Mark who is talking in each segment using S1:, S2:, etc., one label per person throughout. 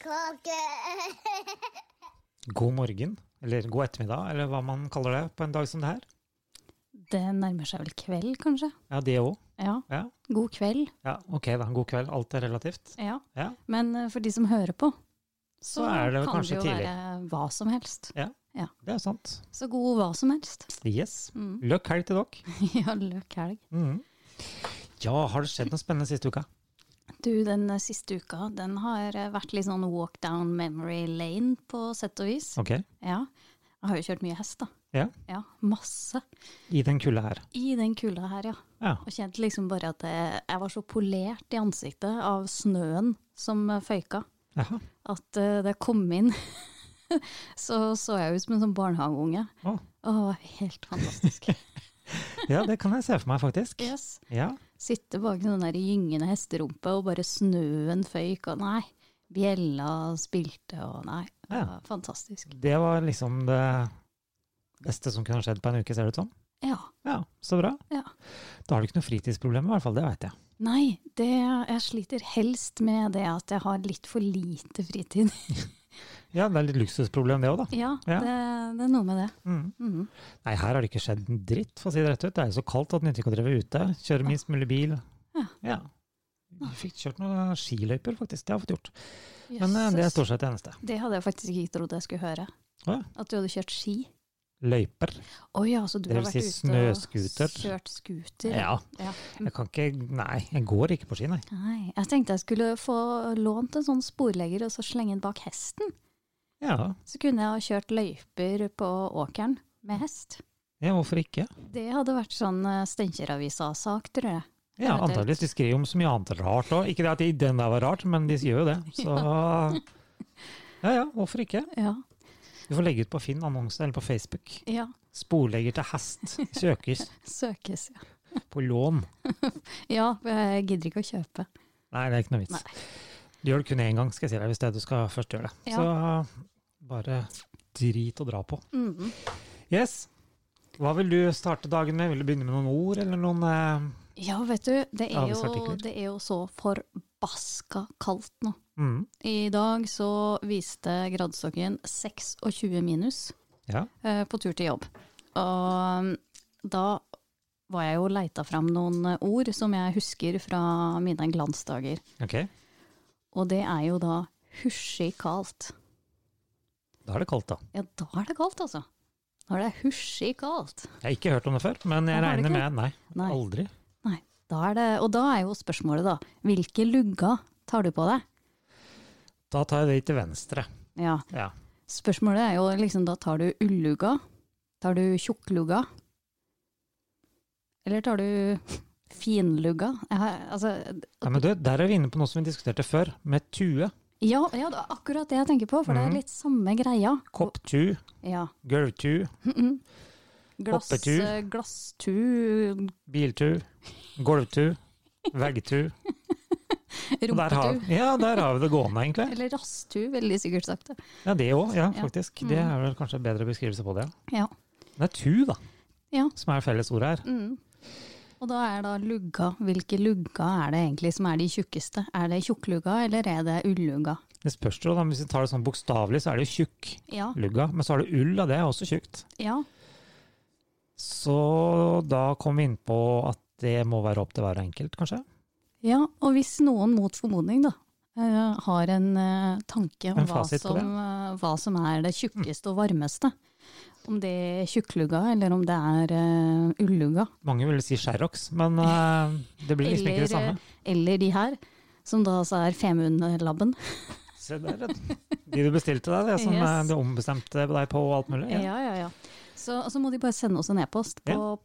S1: kake.
S2: God morgen, eller god ettermiddag, eller hva man kaller det på en dag som det her.
S3: Det nærmer seg vel kveld, kanskje?
S2: Ja, det òg.
S3: Ja.
S2: Ja.
S3: God kveld.
S2: ja, ok da. God kveld. Alt er relativt.
S3: Ja.
S2: Ja.
S3: Men eh, for de som hører på, så,
S2: er det vel
S3: kan
S2: kanskje
S3: det jo
S2: tidlig.
S3: være hva som helst.
S2: Ja,
S3: Ja.
S2: det er sant.
S3: Så god hva som helst.
S2: Yes.
S3: Mm.
S2: Løkk helg til dere.
S3: ja, løk helg.
S2: Mhm. Ja, har det skjedd noe spennende siste uka?
S3: Du, den eh, siste uka, den har eh, vært litt sånn walk down memory lane, på sett og vis.
S2: Ok.
S3: Ja. Jeg har jo kjørt mye hest, da.
S2: Ja.
S3: Ja, masse.
S2: I den kulda her.
S3: I den kulda her, ja.
S2: Ja.
S3: Og kjente liksom bare at jeg, jeg var så polert i ansiktet av snøen som eh, føyka.
S2: Jaha.
S3: at eh, da jeg kom inn, så så jeg ut som en sånn barnehageunge.
S2: Å.
S3: Å, helt fantastisk.
S2: Ja, det kan jeg se for meg, faktisk.
S3: Yes.
S2: Ja.
S3: Sitte bak den der gyngende hesterumpe, og bare snøen føyk, og nei, bjella spilte, og nei. det
S2: Ja.
S3: var Fantastisk.
S2: Det var liksom det beste som kunne ha skjedd på en uke, ser det ut som.
S3: Ja.
S2: Ja, så bra.
S3: ja.
S2: Da har du ikke noe fritidsproblem, i hvert fall. Det veit jeg.
S3: Nei, det, jeg sliter helst med det at jeg har litt for lite fritid.
S2: Ja, det er litt luksusproblem, det òg, da.
S3: ja,
S2: Ja.
S3: Det, det er noe med det.
S2: Mm.
S3: Mhm.
S2: Nei, her har det ikke skjedd en dritt, for å si det rett ut. Det er jo så kaldt at det nytter ikke å drive ute. Kjøre minst mulig bil.
S3: Ja.
S2: Ja. Vi fikk kjørt noen skiløyper, faktisk. Det har jeg fått gjort. Men eh,
S3: Jøsses.
S2: det er stort sett det eneste.
S3: det hadde jeg faktisk ikke trodd jeg skulle høre.
S2: Å ja.
S3: At du hadde kjørt ski.
S2: Løyper.
S3: Å ja, så du
S2: Det
S3: har
S2: vil
S3: vært
S2: si
S3: ute
S2: snøscooter.
S3: og kjørt scooter?
S2: Ja.
S3: Ja.
S2: Jeg kan ikke Nei, jeg går ikke på ski, nei.
S3: Nei, jeg tenkte jeg skulle få lånt en sånn sporlegger og så slenge den bak hesten.
S2: Ja,
S3: Så kunne jeg ha kjørt løyper på åkeren med hest.
S2: ja hvorfor ikke?
S3: Det hadde vært sånn eh, Steinkjer-avisa-sak, tror jeg.
S2: Ja,
S3: Garantert.
S2: antageligvis. De skriver jo om så mye annet rart òg. Ikke det at de- den der var rart, men de gjør jo det. Så Ja ja, hvorfor ikke?
S3: Ja.
S2: Du får legge ut på Finn annonse eller på Facebook.
S3: ja.
S2: Sporlegger til hest søkes
S3: Søkes, ja.
S2: på lån.
S3: Ja, for jeg gidder ikke å kjøpe.
S2: Nei, det er ikke noe vits.
S3: Nei.
S2: Du gjør det kun én gang, skal jeg si deg, hvis det er du skal først gjøre det. Så bare drit å dra på.
S3: Mhm.
S2: Yes. Hva vil du starte dagen med? Vil du begynne med noen ord, eller noen eh,
S3: Ja, vet du, det er, jo,
S2: Avisartikler.
S3: det er jo så forbaska kaldt nå.
S2: mm,
S3: I dag så viste gradestokken 26 minus.
S2: Ja.
S3: eh, på tur til jobb. Og um, da var jeg jo leita fram noen eh, ord som jeg husker fra mine glansdager.
S2: Ok.
S3: Og det er jo da husjig kaldt.
S2: Da er det kaldt, da.
S3: Ja, da er det kaldt, altså. Når det er husjig kaldt.
S2: Jeg har ikke hørt om det før, men jeg
S3: Nei, har du
S2: regner
S3: ikke?
S2: med Nei,
S3: Nei.
S2: aldri.
S3: Nei, da er det Og da er jo spørsmålet, da. Hvilke lugger tar du på deg?
S2: Da tar jeg det til venstre.
S3: Ja,
S2: Ja.
S3: spørsmålet er jo liksom da tar du ullugga? Tar du tjukklugga? Eller tar du finlugga? Jeg har, altså,
S2: Nei, men du, der er vi inne på noe som vi diskuterte før, med tue.
S3: Ja, ja, det er akkurat det jeg tenker på, for det
S2: Mhm.
S3: er litt samme greia.
S2: Kopptu,
S3: Ja. Mhm.
S2: gulvtu,
S3: Glass,
S2: Hoppetur.
S3: eh, glasstur,
S2: biltu, gulvtu, veggtu. Og Der har,
S3: rumpetur.
S2: ja, der har vi det gående, egentlig.
S3: Eller rasstur, veldig sikkert sagt. det.
S2: Ja, det òg, ja,
S3: Ja. Mm.
S2: faktisk. Det er vel kanskje en bedre beskrivelse på det.
S3: Ja.
S2: Det er tu, da,
S3: ja.
S2: som er fellesordet her.
S3: Mm. Og da er da lugga. Hvilke lugga er det egentlig som er de tjukkeste? Er det tjukklugga, eller er det ullugga?
S2: Det spørs jo, da, men hvis vi tar det sånn bokstavelig, så er det jo tjukk
S3: Ja,
S2: lugga. Men så har du ull, og det er også tjukt.
S3: ja.
S2: Så da kom vi inn på at det må være opp til hver enkelt, kanskje.
S3: ja, og hvis noen mot formodning da, eh, har en eh, tanke om
S2: En
S3: hva
S2: fasit på
S3: som,
S2: det.
S3: eh, hva som er det tjukkeste og varmeste, om det er tjukklugga, eller om det er eh, ullugga,
S2: Mange ville si Sherrox, men eh, det blir liksom ikke det samme.
S3: Eller, eh, eller de her, som da altså er Femundlabben.
S2: Se der, ja. De du bestilte deg, det som
S3: Yes.
S2: eh, du ombestemte deg på og alt mulig. Ja.
S3: Ja, ja, ja. Så, så må de bare sende oss en e-post på
S2: Ja.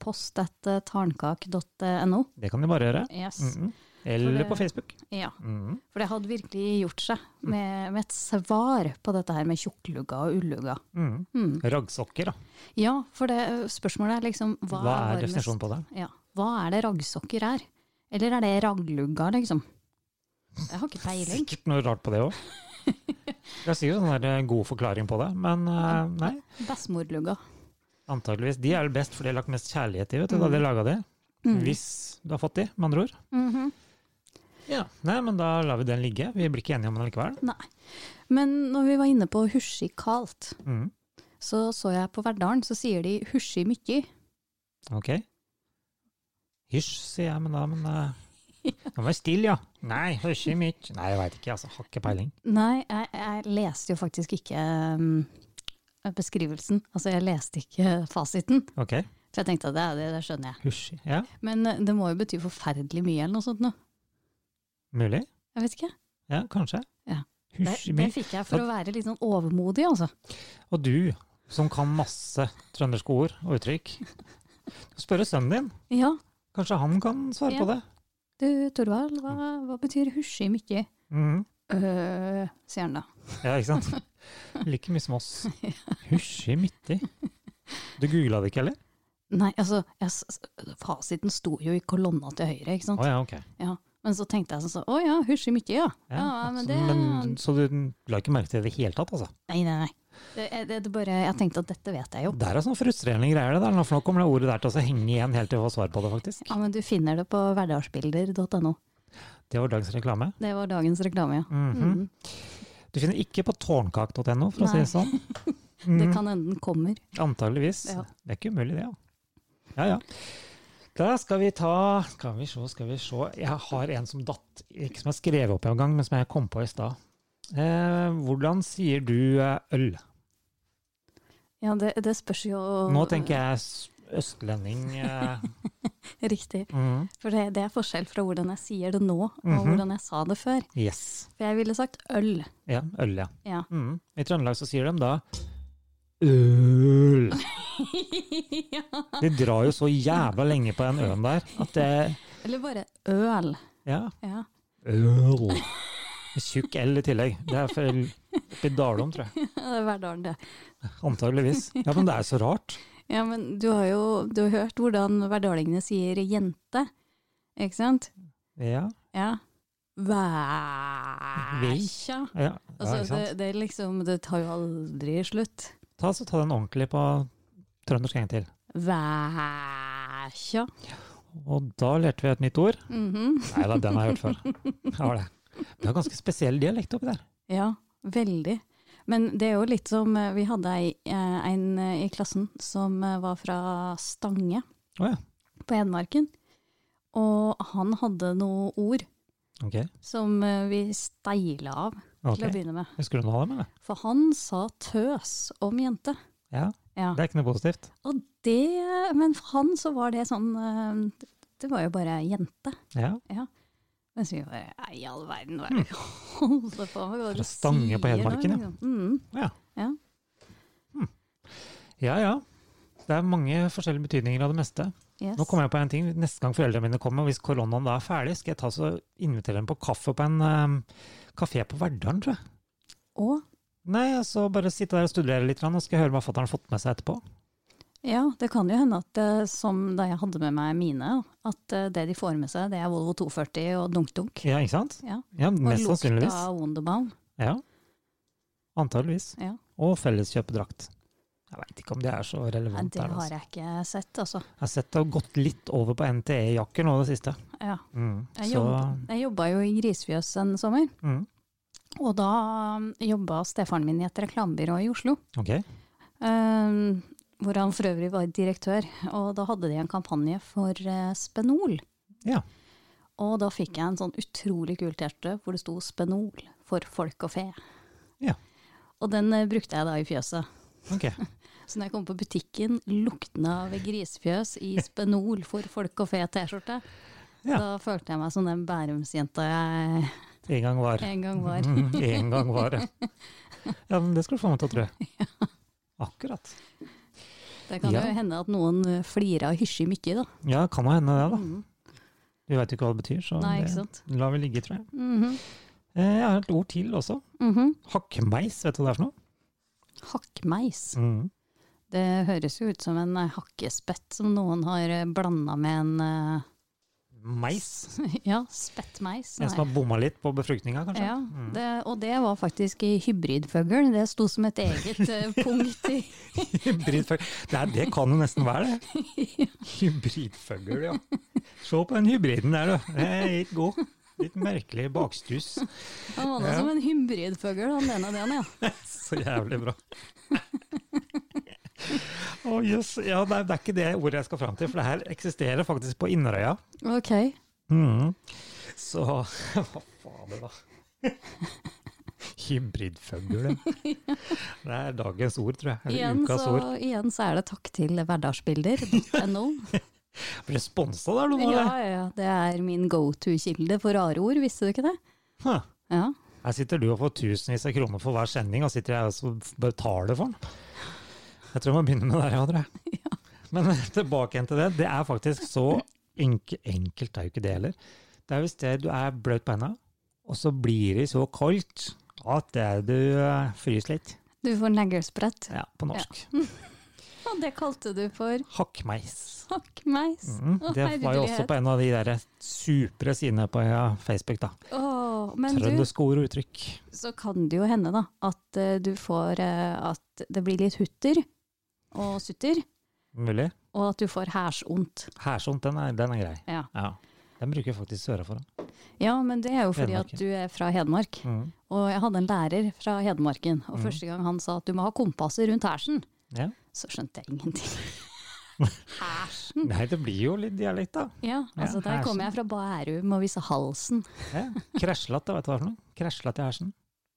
S3: post.tarnkak.no.
S2: Det kan de bare gjøre.
S3: Yes.
S2: Mhm. Eller
S3: For det-
S2: på Facebook.
S3: Ja,
S2: Mhm.
S3: for det hadde virkelig gjort seg med, med et svar på dette her med tjukklugga og ullugga.
S2: Mhm.
S3: Mm.
S2: Raggsokker, da.
S3: Ja, for det spørsmålet er liksom hva,
S2: Hva, er definisjonen på det?
S3: Ja, hva er det raggsokker er? Eller er det ragglugga, liksom? Jeg har ikke peiling.
S2: Sikkert noe rart på det òg. Det er sikkert sånn der eh, god forklaring på det, men eh, nei.
S3: Bestemorlugga.
S2: Antageligvis. De er vel best, for de har lagt mest kjærlighet i, vet du, da de
S3: Mm.
S2: laga det. Hvis du har fått de, med andre ord.
S3: Mhm.
S2: Ja. Nei, men da lar vi den ligge. Vi blir ikke enige om den likevel.
S3: Nei. Men når vi var inne på husji kaldt,
S2: Mm.
S3: så så jeg på Verdalen, så sier de husji mykki.
S2: Ok. Hysj, sier jeg, men da men, eh, Nå må jeg stille, ja. Nei, hysj i mitt. Nei, jeg veit ikke, altså. Har ikke peiling.
S3: Nei, jeg, jeg leste jo faktisk ikke mm, beskrivelsen. Altså, jeg leste ikke fasiten.
S2: Ok.
S3: For jeg tenkte at det, er det, det skjønner jeg.
S2: Hysj. Ja,
S3: Men eh, det må jo bety forferdelig mye eller noe sånt nå.
S2: mulig.
S3: Jeg vet ikke.
S2: Ja, kanskje.
S3: Ja. Det,
S2: Hysj i
S3: det
S2: mitt.
S3: fikk jeg for å være litt sånn overmodig, altså.
S2: Og du, som kan masse trønderske ord og uttrykk, spørre sønnen din.
S3: Ja,
S2: Kanskje han kan svare
S3: Ja.
S2: på det?
S3: du Torvald, hva,
S2: Mm.
S3: hva betyr husji mykki?
S2: Mhm.
S3: Øh, sier han da.
S2: Ja, ikke sant? Like mye som oss. Hysj i midt i. Du googla det ikke, eller?
S3: Nei, altså, jeg, s- s- fasiten sto jo i kolonna til høyre, ikke
S2: Å
S3: sant?
S2: ja, ok.
S3: Men så tenkte jeg sånn sånn, å ja, husji mykki, ja.
S2: Ja,
S3: Ja, men
S2: så,
S3: det-
S2: men, så du la ikke merke til det i det hele tatt, altså?
S3: Nei, nei, nei. Det, jeg- det, det bare, jeg tenkte at dette vet jeg jo.
S2: Det er sånn frustrerende greier, det der. nå, For nå kommer det ordet der til å så henge igjen helt til vi får svar på det, faktisk.
S3: Ja, men du finner det på hverdagsbilder.no.
S2: Det var dagens reklame.
S3: Det var dagens reklame, ja.
S2: Mhm.
S3: Mm.
S2: Du finner ikke på tårnkak.no, for å si
S3: Nei.
S2: det sånn.
S3: Det
S2: Mhm.
S3: kan hende den kommer.
S2: Antageligvis.
S3: Ja.
S2: Det er ikke umulig, det. Ja. ja, ja. Da skal vi ta Skal vi se, skal vi se. Jeg har en som datt, ikke som jeg skrev opp en gang, men som jeg kom på i stad. Eh, hvordan sier du eh, øl?
S3: Ja, det, det spørs jo
S2: Nå tenker jeg s- østlending. Eh,
S3: Riktig.
S2: mm,
S3: For det, det er forskjell fra hvordan jeg sier det nå, og
S2: Mhm.
S3: hvordan jeg sa det før.
S2: yes.
S3: For jeg ville sagt øl.
S2: Ja, øl, ja.
S3: Ja.
S2: Mm. I Trøndelag så sier de da øl.
S3: ja.
S2: De drar jo så jævla lenge på den øen der at det
S3: Eller bare øl.
S2: Ja.
S3: Ja.
S2: Øl. Med Tjukk L i tillegg. Det er for oppi Dalom, tror jeg.
S3: Det er hverdagen, det.
S2: Antageligvis. Ja, men det er så rart.
S3: Ja, men du har jo du har hørt hvordan hverdalingene sier jente, ikke sant?
S2: Ja,
S3: Ja. Væsja.
S2: ja, ja
S3: Altså,
S2: ikke sant.
S3: det, det er liksom Det tar jo aldri slutt.
S2: Ta, så ta den ordentlig på trøndersk en gang til.
S3: Væsja.
S2: Og da lærte vi et nytt ord.
S3: Mhm.
S2: Nei da, den har jeg hørt før. Jeg har det. Vi har ganske spesiell dialekt oppi der.
S3: Ja, veldig. Men det er jo litt som eh, Vi hadde ei, eh, en eh, i klassen som eh, var fra Stange
S2: Å ja.
S3: på Hedmarken. Og han hadde noe ord
S2: Ok.
S3: som eh, vi steila av til å
S2: ok.
S3: begynne med.
S2: Husker du noe av dem, eller?
S3: For han sa tøs om jente.
S2: Ja.
S3: Ja.
S2: Det er ikke noe positivt.
S3: Og det Men for han så var det sånn eh, Det var jo bare jente.
S2: Ja.
S3: Mens vi bare Nei, i all verden, hva er det vi holder på med? Hva er
S2: Fra
S3: det du
S2: Stange på
S3: sier nå,
S2: Hedmarken, ja.
S3: liksom? Mm.
S2: ja ja. Det er mange forskjellige betydninger av det meste.
S3: Yes.
S2: Nå kommer jeg på en ting. Neste gang foreldrene mine kommer, hvis koronaen da er ferdig, skal jeg ta så invitere dem på kaffe på en eh, kafé på Verdalen, tror jeg.
S3: Og
S2: Nei, altså bare sitte der og studere litt, grann, og skal jeg høre hva fatter'n har fått med seg etterpå.
S3: Ja, det kan jo hende at eh, som da jeg hadde med meg mine, at eh, det de får med seg, det er Volvo 240 og dunk-dunk.
S2: Ja, ikke sant?
S3: Ja.
S2: Ja, Mest
S3: og
S2: sannsynligvis.
S3: av Wunderbaum.
S2: Ja. Antageligvis.
S3: Ja.
S2: Og felleskjøpedrakt. Jeg veit ikke om det er så
S3: Nei,
S2: relevant.
S3: det
S2: der,
S3: har
S2: altså.
S3: jeg ikke sett, altså.
S2: Jeg har sett det har gått litt over på NTE-jakker nå i det siste.
S3: Ja.
S2: Mm.
S3: Jeg,
S2: Så
S3: jobba, jeg jobba jo i Grisefjøs en sommer,
S2: mm.
S3: og da um, jobba stefaren min i et reklamebyrå i Oslo.
S2: Ok.
S3: um, hvor han for øvrig var direktør. Og da hadde de en kampanje for eh, Spenol.
S2: Ja.
S3: Og da fikk jeg en sånn utrolig kul T-skjorte hvor det sto 'Spenol for folk og fe'.
S2: Ja.
S3: Og den eh, brukte jeg da i fjøset.
S2: ok.
S3: Så når jeg kom på butikken, lukten av grisefjøs i Spenol for folk og fe T-skjorte.
S2: Ja.
S3: Da følte jeg meg som den Bærumsjenta jeg
S2: En gang var.
S3: en gang var.
S2: Mm, en gang var det. Ja, men det skal du få meg til å tro. Akkurat.
S3: Det kan
S2: Ja.
S3: jo hende at noen eh, flirer av hysje mykje, da.
S2: Ja, kan jo hende det, da.
S3: Mm.
S2: Vi veit jo ikke hva det betyr, så
S3: Nei, ikke
S2: det
S3: sant.
S2: lar vi ligge, tror jeg.
S3: Mhm.
S2: Eh, Jeg har et ord til også.
S3: Mhm.
S2: Hakkmeis, vet du hva det er for noe?
S3: Hakkmeis.
S2: Mm.
S3: Det høres jo ut som en eh, hakkespett som noen har blanda med en eh,
S2: Meis.
S3: Ja, spettmeis.
S2: En som
S3: Nei.
S2: har bomma litt på befruktninga, kanskje?
S3: Ja,
S2: Mm.
S3: det, og det var faktisk i hybridfugl. Det sto som et eget eh, punkt i
S2: Hybridfugl. Det, er- det kan jo nesten være det. Hybridfugl, ja. Se på den hybriden der, du. Den er helt god. Litt merkelig bakstuss.
S3: Han var da
S2: Ja.
S3: som en hybridfugl, han ene og den, ja.
S2: Så jævlig bra. Å jøss. Ja, nei, det er ikke det ordet jeg skal fram til, for det her eksisterer faktisk på Inderøya.
S3: Ok.
S2: Mhm. Så Hva fader, da? Hybridfugl. Det er dagens ord, tror jeg. Eller
S3: Igjen
S2: ukas
S3: så,
S2: ord.
S3: igjen så er det takk til hverdagsbilder.no.
S2: Responsa der,
S3: Ja,
S2: Lona? eller?
S3: ja, ja, det er min go to-kilde for rare ord, visste du ikke det?
S2: Huh.
S3: Ja.
S2: Her sitter du og får tusenvis av kroner for hver sending, og sitter jeg og betaler for den. Jeg tror jeg må begynne med deg, Adre. Men eh, tilbake igjen til det. Det er faktisk så enk enkelt, det er jo ikke det heller. Det er hvis det du er bløt på henda, og så blir det så kaldt at det du eh, fryser litt.
S3: Du får neglesprett.
S2: Ja, på norsk.
S3: Og det kalte du for
S2: Hakkmeis.
S3: hakkmeis.
S2: Mm.
S3: Å,
S2: Det var jo også
S3: herlighet.
S2: på en av de der supre sidene på ja, Facebook, da.
S3: Åh, men du,
S2: Trønderske ord og uttrykk.
S3: så kan det jo hende da, at eh, du får eh, at det blir litt hutter og sutter,
S2: Mulig.
S3: og at du får hærsondt.
S2: Hærsont, den er, den er grei.
S3: Ja.
S2: Ja. Den bruker jeg faktisk søra for.
S3: ja, men det er jo fordi at
S2: Hedmarken.
S3: du er fra Hedmark.
S2: Mm.
S3: Og jeg hadde en lærer fra Hedmarken, og
S2: Mhm.
S3: første gang han sa at du må ha kompasset rundt hersen,
S2: Ja.
S3: så skjønte jeg ingenting. Hersen?
S2: Nei, det blir jo litt dialekt, da.
S3: Ja,
S2: Ja,
S3: altså der kom
S2: hersen.
S3: jeg fra Bærum og viste halsen.
S2: Ja. Krasjlatt, da, vet du hva for noe? Krasjlatt i hersen.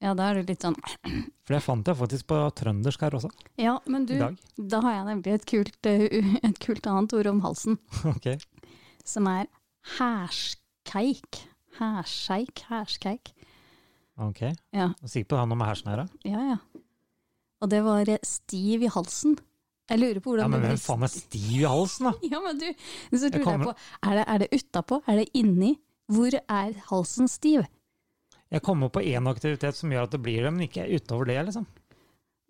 S3: Ja, da er det litt sånn
S2: For det fant jeg faktisk på trøndersk her også,
S3: Ja, men du,
S2: i dag.
S3: da har jeg nemlig et kult, eh, u- et kult annet ord om halsen,
S2: Ok.
S3: som er herskeik. Herskeik, herskeik.
S2: ok.
S3: Ja.
S2: Jeg er Sikker på det har noe med hersen å gjøre?
S3: Ja, ja. Og det var eh, stiv i halsen. Jeg lurer på
S2: Ja,
S3: hvordan
S2: men
S3: det
S2: hvem
S3: ble-
S2: faen er stiv i halsen, da?
S3: Ja, men du, så lurer jeg
S2: kommer-
S3: på, er det, er det utapå? Er det inni? Hvor er halsen stiv?
S2: Jeg kommer på én aktivitet som gjør at det blir det, men ikke utover det, liksom.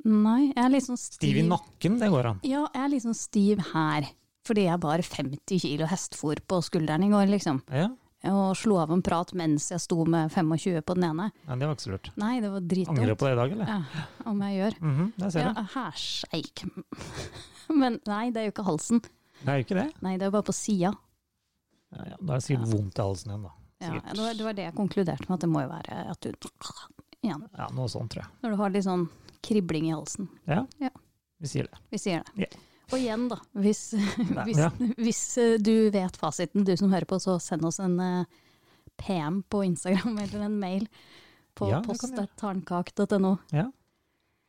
S3: Nei, jeg er litt sånn stiv.
S2: Stiv i nakken, det går an.
S3: Ja, jeg er litt sånn stiv her. Fordi jeg bar 50 kilo hestfôr på skulderen i går, liksom.
S2: Ja,
S3: Og slo av en prat mens jeg sto med 25 på den ene.
S2: ja det var ikke så lurt.
S3: Nei, det var
S2: Angrer
S3: dritdumt.
S2: på det i dag, eller?
S3: Ja, om jeg gjør.
S2: Mhm, det ser
S3: Ja,
S2: du.
S3: herseik. Men nei, det er jo ikke halsen.
S2: Det er jo ikke det.
S3: Nei, det er bare på sida.
S2: Ja, ja, da er det sikkert vondt i halsen igjen, da.
S3: Ja,
S2: Sikkert.
S3: det var, det var det jeg konkluderte med, at det må jo være at du Igjen.
S2: Ja, noe sånt, tror jeg.
S3: Når du har litt sånn kribling i halsen.
S2: Vi sier det.
S3: Vi sier det.
S2: Ja.
S3: Og igjen, da, hvis, hvis,
S2: Ja.
S3: hvis eh, du vet fasiten, du som hører på, så send oss en eh, PM på Instagram eller en mail på
S2: Ja,
S3: ja,
S2: det kan du gjøre.
S3: post.tarnkak.no.
S2: Ja,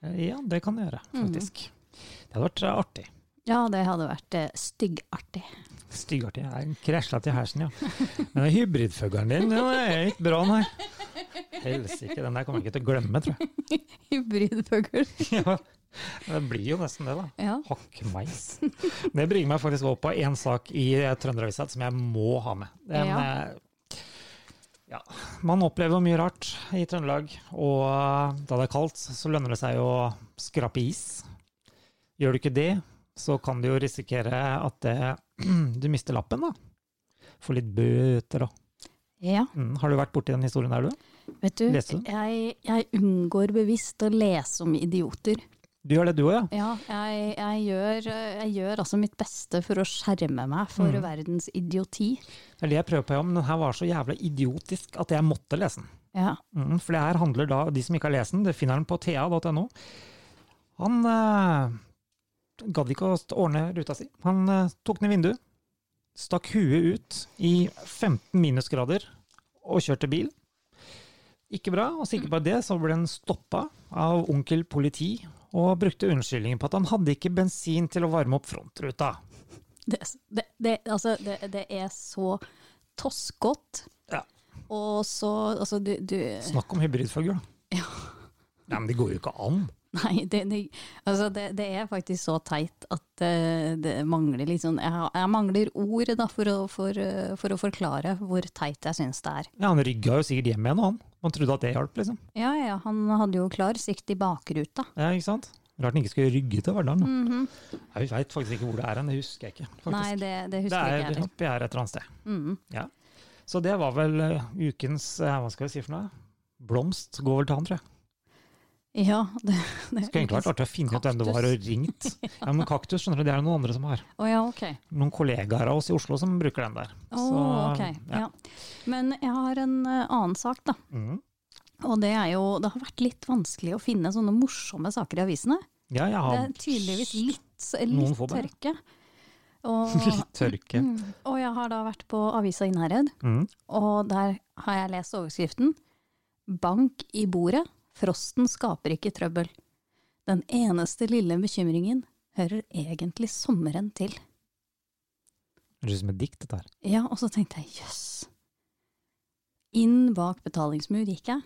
S2: det kan jeg gjøre,
S3: Mhm.
S2: faktisk. Det hadde vært eh, artig.
S3: Ja, det hadde vært eh, styggartig.
S2: Styggartig. Jeg krasja til hersen, ja. Men hybridfuglen din, den er ikke bra, nei. Helsike, den der kommer jeg ikke til å glemme, tror jeg.
S3: Hybridfugl.
S2: Ja, det blir jo nesten det, da.
S3: Ja.
S2: Hakkmeis. Det bringer meg faktisk over på én sak i eh, Trønderavisa som jeg må ha med. Den,
S3: Ja.
S2: eh, ja. Man opplever mye rart i Trøndelag, og eh, da det er kaldt, så lønner det seg å skrape is. Gjør du ikke det, så kan du jo risikere at det, du mister lappen, da. Får litt bøter og
S3: ja.
S2: mm. Har du vært borti den historien der, du?
S3: Vet du,
S2: Leste du?
S3: jeg, jeg unngår bevisst å lese om idioter.
S2: Du gjør det, du òg, ja?
S3: Ja, jeg, jeg, gjør, eh, jeg gjør altså mitt beste for å skjerme meg for
S2: Mm.
S3: verdens idioti.
S2: Det er det jeg prøver på, ja, men den her var så jævla idiotisk at jeg måtte lese den.
S3: Ja.
S2: Mm, for det her handler da, de som ikke har lest den, det finner den på ta.no. Han eh, gadd ikke å st- ordne ruta si. Han eh, tok ned vinduet, stakk huet ut i 15 minusgrader og kjørte bil. Ikke bra, og sikkert bare det, så ble han stoppa av onkel politi og brukte unnskyldningen på at han hadde ikke bensin til å varme opp frontruta.
S3: Det, det, det, altså, det, det er så toskott.
S2: Ja.
S3: Og så Altså, du, du
S2: Snakk om hybridfugl, da.
S3: Ja.
S2: Nei, men det går jo ikke an.
S3: Nei, det, det, altså det, det er faktisk så teit at eh, det mangler litt sånn Jeg, har- jeg mangler ord da, for, å, for, eh, for å forklare hvor teit jeg syns det er.
S2: Ja, han rygga jo sikkert hjem igjen, og han. Man trodde at det hjalp, liksom.
S3: Ja ja, han hadde jo klar sikt i bakruta.
S2: Ja, ikke sant? Rart den ikke skulle rygge til Verdalen. da.
S3: Mhm.
S2: Nei, Vi veit faktisk ikke hvor det er hen, det husker jeg ikke. faktisk.
S3: Nei, det, det
S2: det
S3: husker jeg
S2: er
S3: ikke heller.
S2: oppi her et eller annet sted.
S3: Mhm.
S2: Så det var vel eh, ukens eh, Hva skal vi si for noe? Blomst går vel til han, tror jeg.
S3: Ja, det, det
S2: Det skulle egentlig vært artig å finne ut hvem det var og ringt. Ja, Men kaktus skjønner du, det er det noen andre som har.
S3: Å ja, ok.
S2: Noen kollegaer av oss i Oslo som bruker den der.
S3: Å, ok. Ja. Men jeg har en eh, annen sak, da.
S2: Mm.
S3: Og det er jo Det har vært litt vanskelig å finne sånne morsomme saker i avisene.
S2: Ja, jeg
S3: Det
S2: har
S3: er tydeligvis litt, s-
S2: Noen
S3: litt
S2: får bare.
S3: tørke. Og,
S2: litt tørke.
S3: mm, og jeg har da vært på avisa Innherred,
S2: Mm.
S3: og der har jeg lest overskriften 'Bank i bordet. Frosten skaper ikke trøbbel'. Den eneste lille bekymringen hører egentlig sommeren til.
S2: Det høres ut som et dikt, dette her.
S3: Ja, og så tenkte jeg jøss. Inn bak betalingsmur gikk jeg,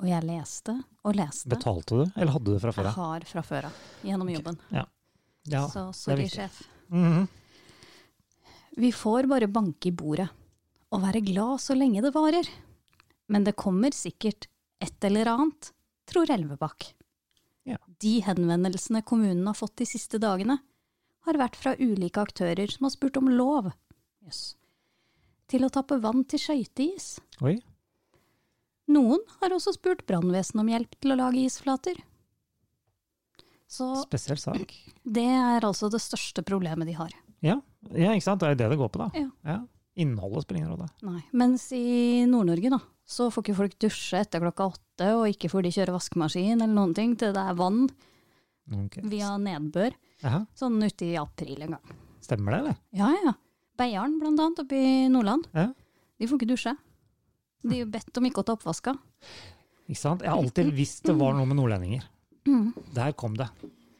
S3: og jeg leste og leste.
S2: Betalte du, eller hadde du det fra før
S3: Jeg
S2: av?
S3: har fra før av, gjennom
S2: Ok,
S3: jobben.
S2: Ja.
S3: så sorry,
S2: viktig.
S3: sjef.
S2: Mhm.
S3: Vi får bare banke i bordet, og være glad så lenge det varer. Men det kommer sikkert et eller annet, tror Elvebakk.
S2: Ja.
S3: De henvendelsene kommunen har fått de siste dagene, har vært fra ulike aktører som har spurt om lov Jøss. til å tappe vann til skøyteis.
S2: Oi.
S3: Noen har også spurt brannvesenet om hjelp til å lage isflater. Så
S2: Spesiell sak.
S3: det er altså det største problemet de har.
S2: Ja, ikke sant? Det er jo det det går på, da.
S3: Ja.
S2: Innholdet spiller ingen rolle.
S3: Nei. Mens i Nord-Norge, da, så får ikke folk dusje etter klokka åtte, og ikke får de kjøre vaskemaskin eller noen ting til det er vann
S2: Ok.
S3: via nedbør,
S2: Jaha.
S3: sånn ute i april en gang.
S2: Stemmer det, eller?
S3: Ja, ja. Beiarn, blant annet, oppe i Nordland,
S2: Ja.
S3: de får ikke dusje. De er jo bedt om ikke å ta oppvaska.
S2: Ikke sant? Jeg har alltid visst det var noe med nordlendinger.
S3: Mm.
S2: Der kom det.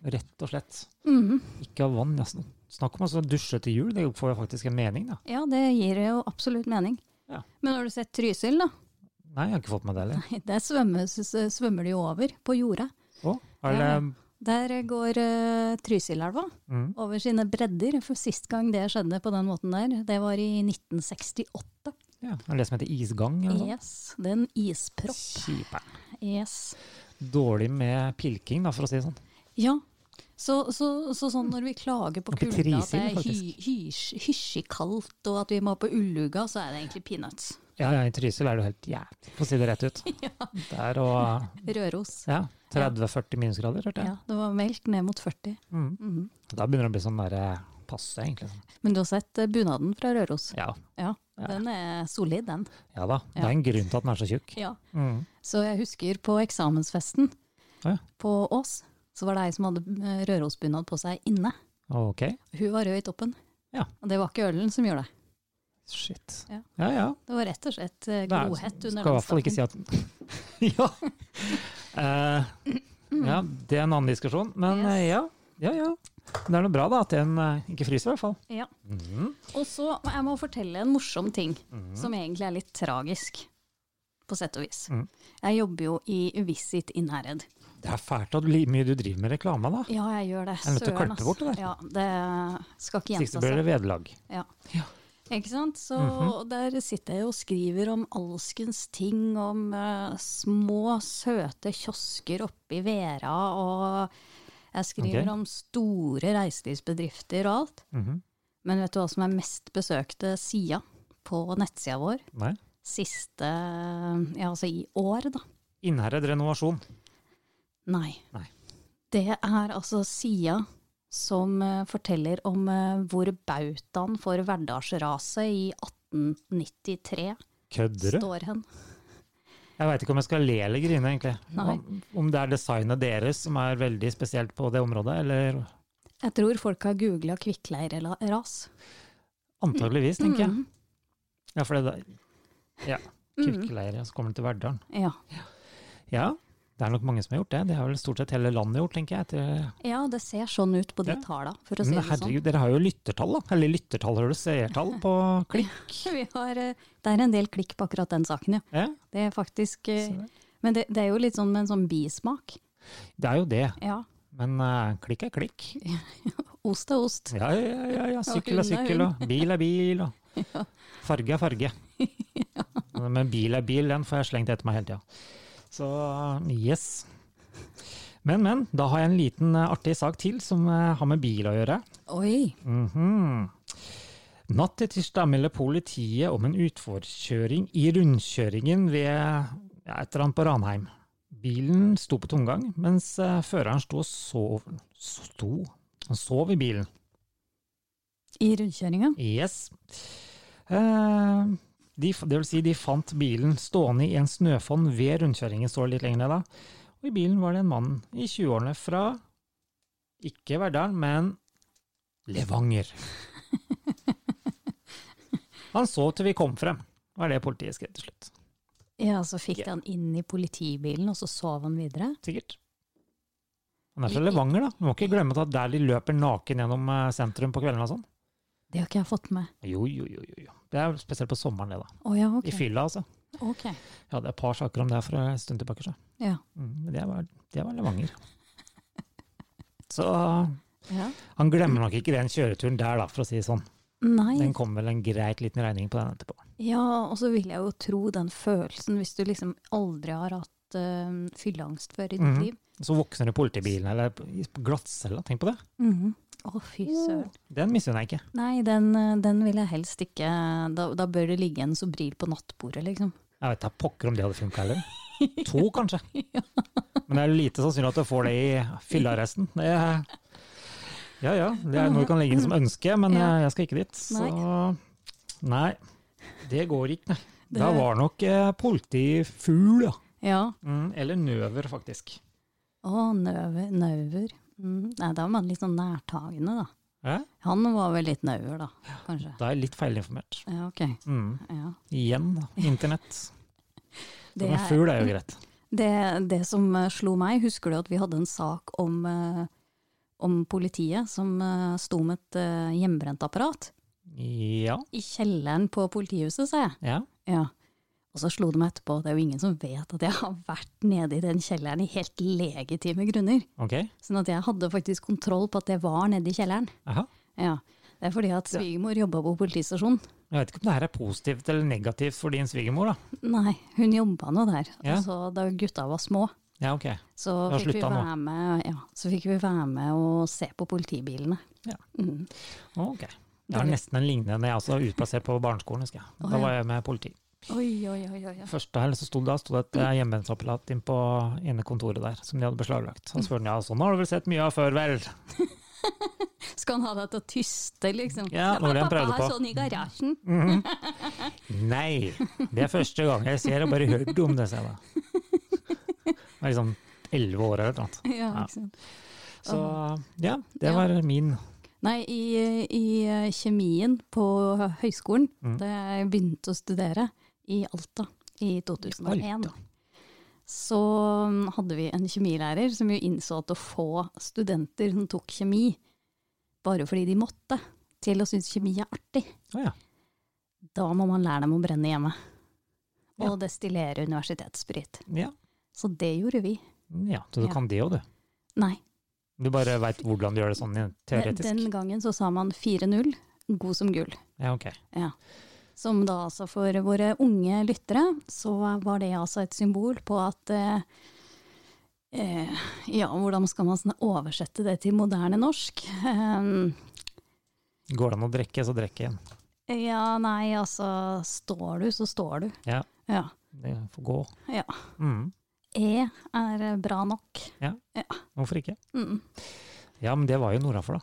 S2: Rett og slett.
S3: Mhm.
S2: Ikke av vann. ja, sn- Snakk om å altså, dusje til jul, det får jo faktisk en mening, da.
S3: Ja, det gir jo absolutt mening.
S2: Ja.
S3: Men har du sett Trysil, da?
S2: Nei, jeg har ikke fått med det heller.
S3: Der svømmer, s- svømmer de jo over, på jordet.
S2: Å, er det
S3: Ja. Der går uh, Trysilelva
S2: mm,
S3: over sine bredder. For sist gang det skjedde på den måten der, det var i 1968.
S2: ja. Er det det som heter isgang? Eller noe sånt?
S3: Yes, det er en ispropp.
S2: Kjipe.
S3: Yes.
S2: Dårlig med pilking, da, for å si det sånn.
S3: Ja. Så, så, så sånn når vi klager på
S2: Oppe i
S3: kulda at det
S2: Trysil,
S3: er hy- hysj- hysjig kaldt og at vi må på Ulluga, så er det egentlig peanuts.
S2: Ja, ja, i Trysil er det jo helt jævlig, for å si det rett ut. Der og
S3: Røros.
S2: ja, 30-40 minusgrader, hørte jeg.
S3: Ja, det var meldt ned mot 40.
S2: Mm.
S3: Mhm.
S2: Da begynner det å bli sånn derre passe, egentlig.
S3: Men du har sett eh, bunaden fra Røros?
S2: Ja,
S3: Ja,
S2: Ja.
S3: den er solid, den.
S2: ja da. Det er en grunn til at den er så tjukk.
S3: Ja.
S2: Mm.
S3: Så jeg husker på eksamensfesten
S2: Ja.
S3: på Ås, så var det ei som hadde eh, Rørosbunad på seg inne.
S2: Ok.
S3: Hun var rød i toppen.
S2: Ja.
S3: Og det var ikke ølen som gjorde det.
S2: Shit.
S3: Ja.
S2: ja. ja.
S3: Det var rett og slett eh,
S2: Det er-
S3: glohett under
S2: Skal i hvert fall ikke si at Ja. Eh, ja, det er en annen diskusjon. Men eh, ja, ja, ja. Det er noe bra da, at den eh, ikke fryser i hvert fall.
S3: Ja.
S2: Mhm.
S3: Og så jeg må fortelle en morsom ting, som egentlig er litt tragisk. På sett og vis.
S2: Mm.
S3: Jeg jobber jo i Visit Innherred.
S2: Det er fælt at li- mye du driver med reklame, da.
S3: Ja, jeg gjør det.
S2: Jeg er nødt til å
S3: Søren,
S2: klippe
S3: ass.
S2: bort det der.
S3: Ja, det skal
S2: Sist
S3: ikke gjenta
S2: blir
S3: seg.
S2: det vederlag.
S3: Ja.
S2: Ja. Mhm.
S3: Ikke sant? Så der sitter jeg og skriver om alskens ting, om eh, små, søte kiosker oppe i Vera, og jeg skriver
S2: Ok.
S3: om store reiselivsbedrifter og alt.
S2: Mhm.
S3: Men vet du hva som er mest besøkte sida på nettsida vår
S2: Nei.
S3: siste Ja, altså i år, da.
S2: Innherred renovasjon.
S3: Nei.
S2: Nei.
S3: Det er altså sida som eh, forteller om eh, hvor bautaen for hverdagsraset i 1893
S2: Kødder du?
S3: står hen.
S2: Jeg veit ikke om jeg skal le eller grine, egentlig.
S3: Nei.
S2: Om, om det er designet deres som er veldig spesielt på det området, eller
S3: Jeg tror folk har googla kvikkleireras.
S2: antageligvis,
S3: Mm.
S2: tenker jeg. Ja, for det der Ja.
S3: Mm.
S2: Kirkeleire, og så kommer det til Verdalen.
S3: Ja.
S2: Ja, det er nok mange som har gjort det. Det har vel stort sett hele landet gjort, tenker jeg. Etter...
S3: ja, det ser sånn ut på de
S2: Ja.
S3: tala, for å si
S2: Men
S3: det sånn.
S2: herregud, dere har jo lyttertall, da. Eller lyttertall, hører du. Seertall på klikk.
S3: Vi har, eh, det er en del klikk på akkurat den saken, ja.
S2: Ja.
S3: Det er faktisk eh,
S2: Så det-
S3: Men det, det er jo litt sånn med en sånn bismak.
S2: Det er jo det,
S3: Ja.
S2: men eh, klikk er klikk.
S3: Ost er ost.
S2: Ja, ja, ja, ja. Sykkel
S3: hund
S2: er
S3: er
S2: sykkel, og bil er bil, og farge er farge. Men bil er bil, den får jeg slengt etter meg hele tida. Så yes. Men, men. Da har jeg en liten eh, artig sak til som eh, har med bil å gjøre.
S3: Oi.
S2: Mhm. Natt til tirsdag melder politiet om en utforkjøring i rundkjøringen ved ja, et eller annet på Ranheim. Bilen sto på tomgang, mens eh, føreren sto og sov Sto? Han sov i bilen.
S3: I rundkjøringa.
S2: Yes. Eh, De, f- det vil si, de fant bilen stående i en snøfonn ved rundkjøringen, står det litt lenger ned da. Og i bilen var det en mann i 20-årene fra, ikke Verdal, men Levanger. Han så til vi kom frem, var det politiet skrev til slutt.
S3: Ja, så fikk
S2: Ja.
S3: han inn i politibilen, og så sov han videre.
S2: Sikkert. Han er fra Levanger, da. Du må ikke glemme at der de løper naken gjennom eh, sentrum på kveldene og sånn.
S3: Det har ikke jeg fått med.
S2: Jo, jo, jo, jo, jo. Det er spesielt på sommeren, det, da.
S3: Å ja, ok.
S2: I fylla, altså.
S3: Ok.
S2: Jeg hadde et par saker om det her for en stund tilbake. Så.
S3: Ja.
S2: Mm, men det var, det var Levanger. Så
S3: ja.
S2: han glemmer nok ikke den kjøreturen der, da, for å si det sånn.
S3: Nei.
S2: Den kom vel en greit liten regning på den etterpå.
S3: Ja, og så vil jeg jo tro den følelsen, hvis du liksom aldri har hatt uh, fylleangst før i ditt
S2: Mhm.
S3: liv.
S2: Så vokser det politibilen, eller i glattcella, tenk på det.
S3: Mhm. Å, fy søren.
S2: Den misunner jeg ikke.
S3: Nei, den, eh, den vil jeg helst ikke Da, da bør det ligge en sobril på nattbordet, liksom.
S2: Jeg vet da pokker om det hadde funka heller. To, kanskje. Men det er lite sannsynlig at du får det i fyllearresten. Det er- Ja ja, det er noe du kan legge inn som ønske, men
S3: Ja.
S2: eh, jeg skal ikke dit. Så nei, det går ikke, nei.
S3: Det-
S2: Da var nok eh, politifugl, ja.
S3: Ja.
S2: Mm, eller nøver, faktisk.
S3: Å, nøver. Nøver. Mm. Nei, da var man litt sånn nærtagende, da.
S2: Ja,
S3: Han var vel litt nøver, da, kanskje.
S2: da er jeg litt feilinformert.
S3: Ja, ok.
S2: Mm.
S3: Ja.
S2: Igjen, da. internett.
S3: Det
S2: Men
S3: er-
S2: fugl er jo greit.
S3: Det, det som eh, slo meg, husker du at vi hadde en sak om, eh, om politiet som eh, sto med et eh, hjemmebrent apparat
S2: Ja.
S3: i kjelleren på politihuset, sa jeg.
S2: ja.
S3: Ja. Og så slo det meg etterpå, det er jo ingen som vet at jeg har vært nede i den kjelleren i helt legitime grunner.
S2: Ok.
S3: Sånn at jeg hadde faktisk kontroll på at jeg var nede i kjelleren.
S2: Aha.
S3: Ja. Det er fordi at svigermor jobba på politistasjonen.
S2: Jeg vet ikke om det her er positivt eller negativt for din svigermor, da.
S3: Nei, hun jobba nå der.
S2: Ja.
S3: Og så da gutta var små,
S2: Ja, ok.
S3: Så
S2: Da
S3: fikk, vi
S2: slutta han
S3: være med, ja, så fikk vi være med og se på politibilene.
S2: Ja.
S3: Mm.
S2: Ok. Jeg har
S3: Det-
S2: nesten en lignende. Jeg er også utplassert på barneskolen, husker jeg.
S3: Å,
S2: Da
S3: ja.
S2: var jeg med politi.
S3: Oi, oi, oi, oi. oi.
S2: Første helg så sto det, da sto det et eh, hjemmebrentapparat inn på inne kontoret der, som de hadde beslaglagt. Han spurte ja, sånn har du vel sett mye av før, vel?
S3: Skal han ha deg til å tyste, liksom?
S2: Ja, det Mm. var det han prøvde på.
S3: Pappa har sånn i garasjen.
S2: Nei, det er første gang jeg ser og bare hørt om det, sier jeg da. Jeg var liksom elleve år eller noe.
S3: Ja,
S2: Ja.
S3: ikke sant.
S2: Så ja, det
S3: Ja.
S2: var min.
S3: Nei, i, i eh, kjemien på høyskolen,
S2: Mm.
S3: da jeg begynte å studere i Alta i 2001,
S2: Alta.
S3: så mm, hadde vi en kjemilærer som jo innså at å få studenter som tok kjemi, bare fordi de måtte, til å synes kjemi er artig,
S2: Å ja.
S3: da må man lære dem å brenne hjemme. Og
S2: Ja.
S3: destillere universitetssprit.
S2: ja.
S3: Så det gjorde vi.
S2: Ja, så du
S3: Ja.
S2: kan det òg, du.
S3: Nei,
S2: Du bare veit hvordan du gjør det sånn
S3: den,
S2: teoretisk.
S3: den gangen så sa man 4-0, god som gull.
S2: Ja, ok.
S3: Som da altså for våre unge lyttere, så var det altså et symbol på at eh, eh, Ja, hvordan skal man sånn oversette det til moderne norsk? Eh,
S2: Går det an å drikke, så drikk igjen.
S3: ja, nei, altså Står du, så står du.
S2: Ja.
S3: ja.
S2: Det får gå.
S3: Ja.
S2: Mm.
S3: E er bra nok.
S2: Hvorfor ikke?
S3: Mm.
S2: Ja, men det var jo nordafor, da.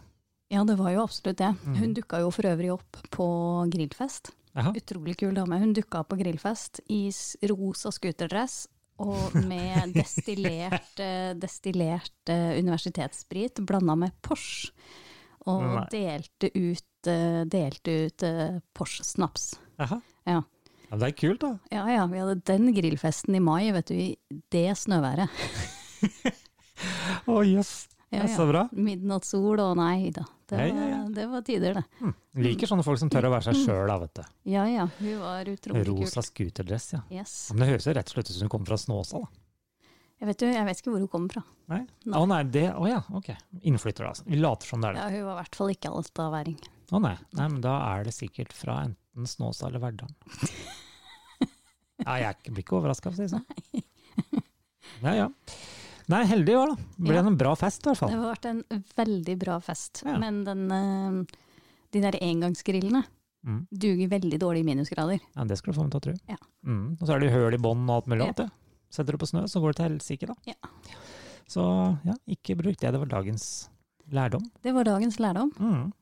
S3: Ja, det var jo absolutt det.
S2: Mhm.
S3: Hun dukka jo for øvrig opp på grillfest.
S2: Jaha.
S3: Utrolig kul dame. Hun dukka opp på grillfest i s- rosa scooterdress og med destillert, eh, destillert eh, universitetssprit blanda med Porsch. Og
S2: Nei.
S3: delte ut, eh, delte ut eh, Porsch-snaps.
S2: Jaha.
S3: Ja.
S2: Ja, men det er kult, da.
S3: Ja ja, vi hadde den grillfesten i mai, vet du, i det snøværet.
S2: Å jøss,
S3: Ja,
S2: Det er så
S3: ja.
S2: bra.
S3: Midnattssol og nei da. Det
S2: Ja,
S3: var,
S2: ja, ja.
S3: det var tider, det.
S2: Hm. Liker sånne folk som tør å være
S3: Mm.
S2: seg sjøl, da, vet du.
S3: Ja ja, hun var utrolig kul.
S2: Rosa scooterdress, ja.
S3: Yes.
S2: Men det høres jo rett og slett ut som hun kommer fra Snåsa, da.
S3: Jeg vet, jo, jeg vet ikke hvor hun kommer fra.
S2: Nei?
S3: Nei.
S2: Å nei, det Å ja, ok. Innflytter, altså. Vi later som det er det.
S3: Ja, hun var i hvert fall ikke altaværing.
S2: Å nei. nei, men da er det sikkert fra enten Snåsa eller Verdalen. Ja, jeg er ikke- blir ikke overraska, for å si det sånn. Ja ja. Nei, heldig var det. Ble
S3: Ja.
S2: det en bra fest, i hvert
S3: Det
S2: fall.
S3: har vært en veldig bra fest.
S2: Ja.
S3: Men den, eh, de der engangsgrillene
S2: Mm.
S3: duger veldig dårlig i minusgrader.
S2: Ja, det skal du få meg til å tro.
S3: Ja.
S2: Mm. Og så er det jo høl i bånd og alt mulig
S3: Ja.
S2: annet. det. Setter du på snø, så går det til helsike, da.
S3: Ja.
S2: Så ja, ikke bruk det. Det var dagens lærdom.
S3: Det var dagens lærdom.
S2: Mm.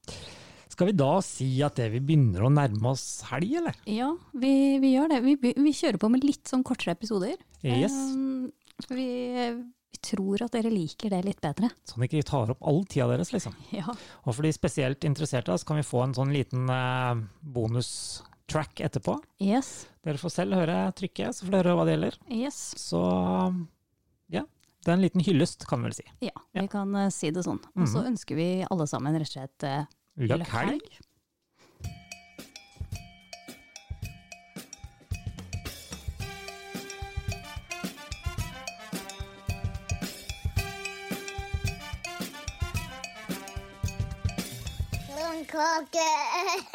S2: Skal vi da si at det vi begynner å nærme oss helg, eller?
S3: Ja, vi, vi gjør det. Vi, by- vi kjører på med litt sånn kortere episoder.
S2: Yes.
S3: Um, vi, vi tror at dere liker det litt bedre.
S2: Sånn at vi ikke tar opp all tida deres, liksom.
S3: Ja.
S2: Og for de spesielt interesserte, så kan vi få en sånn liten eh, bonustrack etterpå.
S3: Yes.
S2: Dere får selv høre trykket, så får dere høre hva det gjelder.
S3: yes.
S2: Så ja, det er en liten hyllest, kan vi vel si.
S3: Ja, vi kan eh, si det sånn. Og så ønsker vi alle sammen rett og slett eh,
S2: Løkk Mhm. helg.
S1: Blomkake.